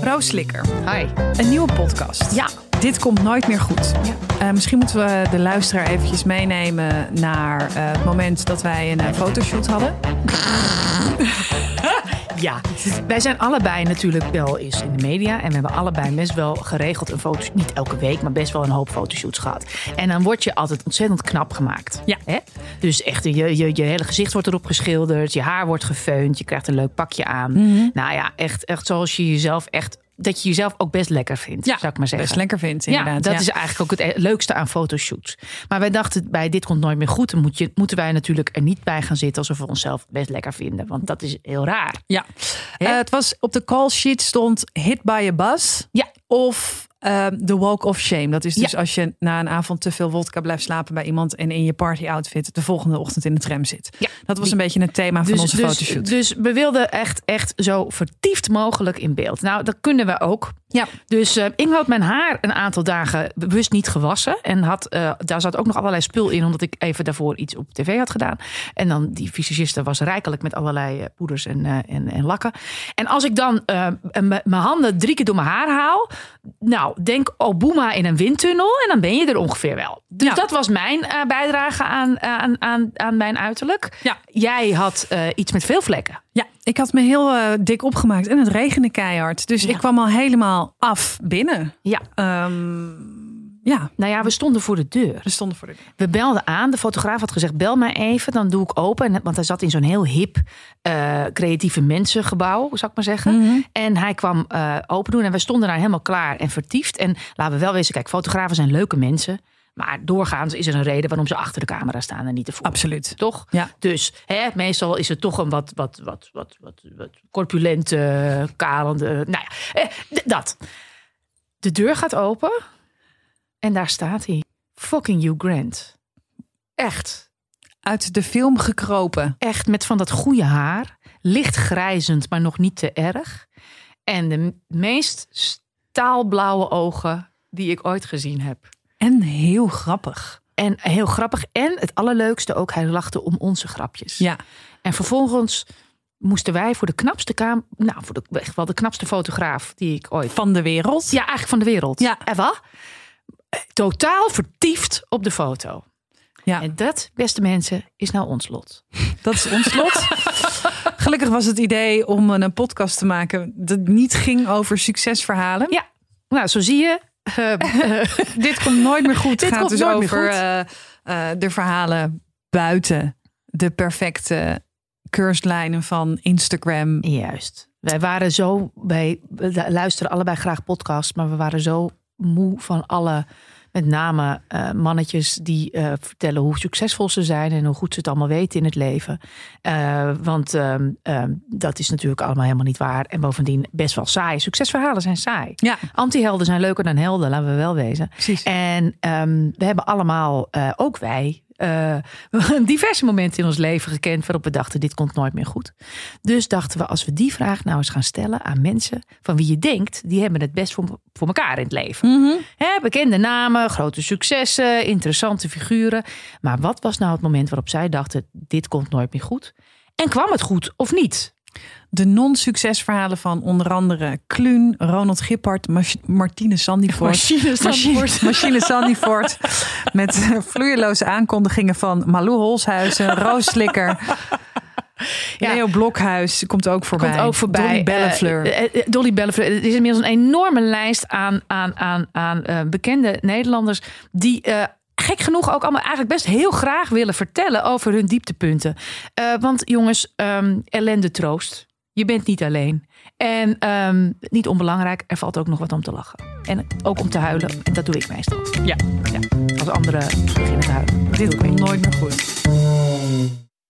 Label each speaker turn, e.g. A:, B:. A: Roos Slikker,
B: Hi.
A: een nieuwe podcast.
B: Ja.
A: Dit komt nooit meer goed. Eh, misschien moeten we de luisteraar eventjes meenemen naar eh, het moment dat wij een eh, fotoshoot hadden.
B: Ja. Wij zijn allebei natuurlijk wel eens in de media. En we hebben allebei best wel geregeld een foto. Niet elke week, maar best wel een hoop fotoshoots gehad. En dan word je altijd ontzettend knap gemaakt.
A: Ja.
B: Hè? Dus echt, je, je, je hele gezicht wordt erop geschilderd. Je haar wordt gefeund. Je krijgt een leuk pakje aan.
A: Mhm.
B: Nou ja, echt, echt zoals je jezelf echt... Dat je jezelf ook best lekker vindt, zou ik maar zeggen.
A: Best lekker vindt, inderdaad.
B: Ja, dat is eigenlijk ook het e- leukste aan fotoshoots. Maar wij dachten bij Dit Komt Nooit Meer Goed... dan moet je, moeten wij natuurlijk er niet bij gaan zitten... alsof we onszelf best lekker vinden. Want dat is heel raar.
A: Ja.
B: Hè?
A: Eh, het was op de call sheet stond hit by a bus.
B: Ja.
A: Of eh, de walk of shame. Dat is dus
B: Ja.
A: als je na een avond te veel wodka blijft slapen bij iemand en in je party outfit de volgende ochtend in de tram zit.
B: Ja.
A: Dat was een beetje het thema van onze fotoshoot.
B: Dus we wilden echt, echt zo vertiefd mogelijk in beeld. Nou, dat kunnen we ook.
A: Ja.
B: Dus eh, ik had mijn haar een aantal dagen bewust niet gewassen. En had, eh, daar zat ook nog allerlei spul in, omdat ik even daarvoor iets op tv had gedaan. En dan die visagiste was rijkelijk met allerlei eh, poeders en, eh, en, en lakken. En als ik dan eh, m- mijn handen drie keer door mijn haar haal. Nou, denk Obama in een windtunnel. En dan ben je er ongeveer wel. Dus
A: Ja.
B: dat was mijn eh, bijdrage aan, eh, aan, aan, aan mijn uiterlijk.
A: Ja.
B: Jij had eh, iets met veel vlekken.
A: Ja, ik had me heel eh, dik opgemaakt en het regende keihard. Dus ik kwam al helemaal af binnen.
B: Ja.
A: Ehm, ja,
B: Nou ja, we stonden voor de deur.
A: we stonden voor de deur.
B: We belden aan. De fotograaf had gezegd: bel mij even, dan doe ik open. En- Want hij zat in zo'n heel hip eh, creatieve mensengebouw, zou ik maar
A: Mhm.
B: zeggen. En hij kwam eh, open doen en wij stonden daar helemaal klaar en vertiefd. En laten we wel wezen, kijk, fotografen zijn leuke mensen. Maar doorgaans is er een reden waarom ze achter de camera staan en niet ervoor.
A: Absoluut.
B: Toch?
A: Ja.
B: Dus hè, meestal is het toch een wat, wat, wat, wat, wat, wat corpulente, kalende. Nou ja, eh, d- dat. De deur gaat open en daar staat hij. Fucking Hugh Grant. Echt.
A: Uit de film gekropen.
B: Echt met van dat goede haar. Licht grijzend, maar nog niet te erg. En de m- meest staalblauwe ogen die ik ooit gezien heb.
A: En heel grappig.
B: En heel grappig. En het allerleukste ook, hij lachte om onze grapjes.
A: Ja.
B: En vervolgens moesten wij voor de knapste kamer, nou, voor de, echt wel de knapste fotograaf die ik ooit.
A: Van de wereld.
B: Ja, eigenlijk van de wereld.
A: Ja.
B: En wat? Eh, Totaal vertiefd op de foto.
A: Ja.
B: En dat, beste mensen, is nou ons lot.
A: Dat is ons lot. Gelukkig was het idee om een podcast te maken dat niet ging over succesverhalen.
B: Ja, nou, zo zie je. eh, eh,
A: Dit komt nooit meer goed.
B: Dit
A: Het gaat
B: komt
A: dus
B: nooit meer
A: over
B: goed.
A: eh, eh, de verhalen buiten de perfecte curstlijnen van Instagram.
B: Juist. Wij waren zo, wij we luisteren allebei graag podcasts, maar we waren zo moe van alle, met name eh, mannetjes die eh, vertellen hoe succesvol ze zijn en hoe goed ze het allemaal weten in het leven. Eh, want ehm, ehm, dat is natuurlijk allemaal helemaal niet waar. En bovendien best wel saai. Succesverhalen zijn saai.
A: Ja,
B: Antihelden zijn leuker dan helden, laten we wel wezen.
A: precies.
B: En ehm, we hebben allemaal, eh, ook wij, eh, diverse momenten in ons leven gekend waarop we dachten: dit komt nooit meer goed. Dus dachten we, als we die vraag nou eens gaan stellen aan mensen van wie je denkt, die hebben het best voor, voor elkaar in het
A: Hm.
B: leven. Hè, bekende namen, grote successen, interessante figuren. Maar wat was nou het moment waarop zij dachten: dit komt nooit meer goed? En kwam het goed of niet?
A: De non-succesverhalen van onder andere Kluun, Ronald Gippard, Mach- Martine Sandyvoort. Machine, Machine Sandyvoort. Met eh, vloeiloze aankondigingen van Malou Holshuizen, Roos Slikker.
B: Ja.
A: Leo Blokhuis komt ook voorbij.
B: Komt ook voorbij.
A: Dolly Bellefleur.
B: Eh, eh, eh, Dolly Bellefleur. Er is inmiddels een enorme lijst aan, aan, aan, aan eh, bekende Nederlanders die. eh, Gek genoeg ook allemaal eigenlijk best heel graag willen vertellen over hun dieptepunten. Eh, want jongens, ehm, ellende troost. Je bent niet alleen. En ehm, niet onbelangrijk, er valt ook nog wat om te lachen. En ook om te huilen. En dat doe ik meestal.
A: Ja.
B: Als anderen beginnen te huilen.
A: Dit
B: Doe ik mee.
A: komt nooit meer goed.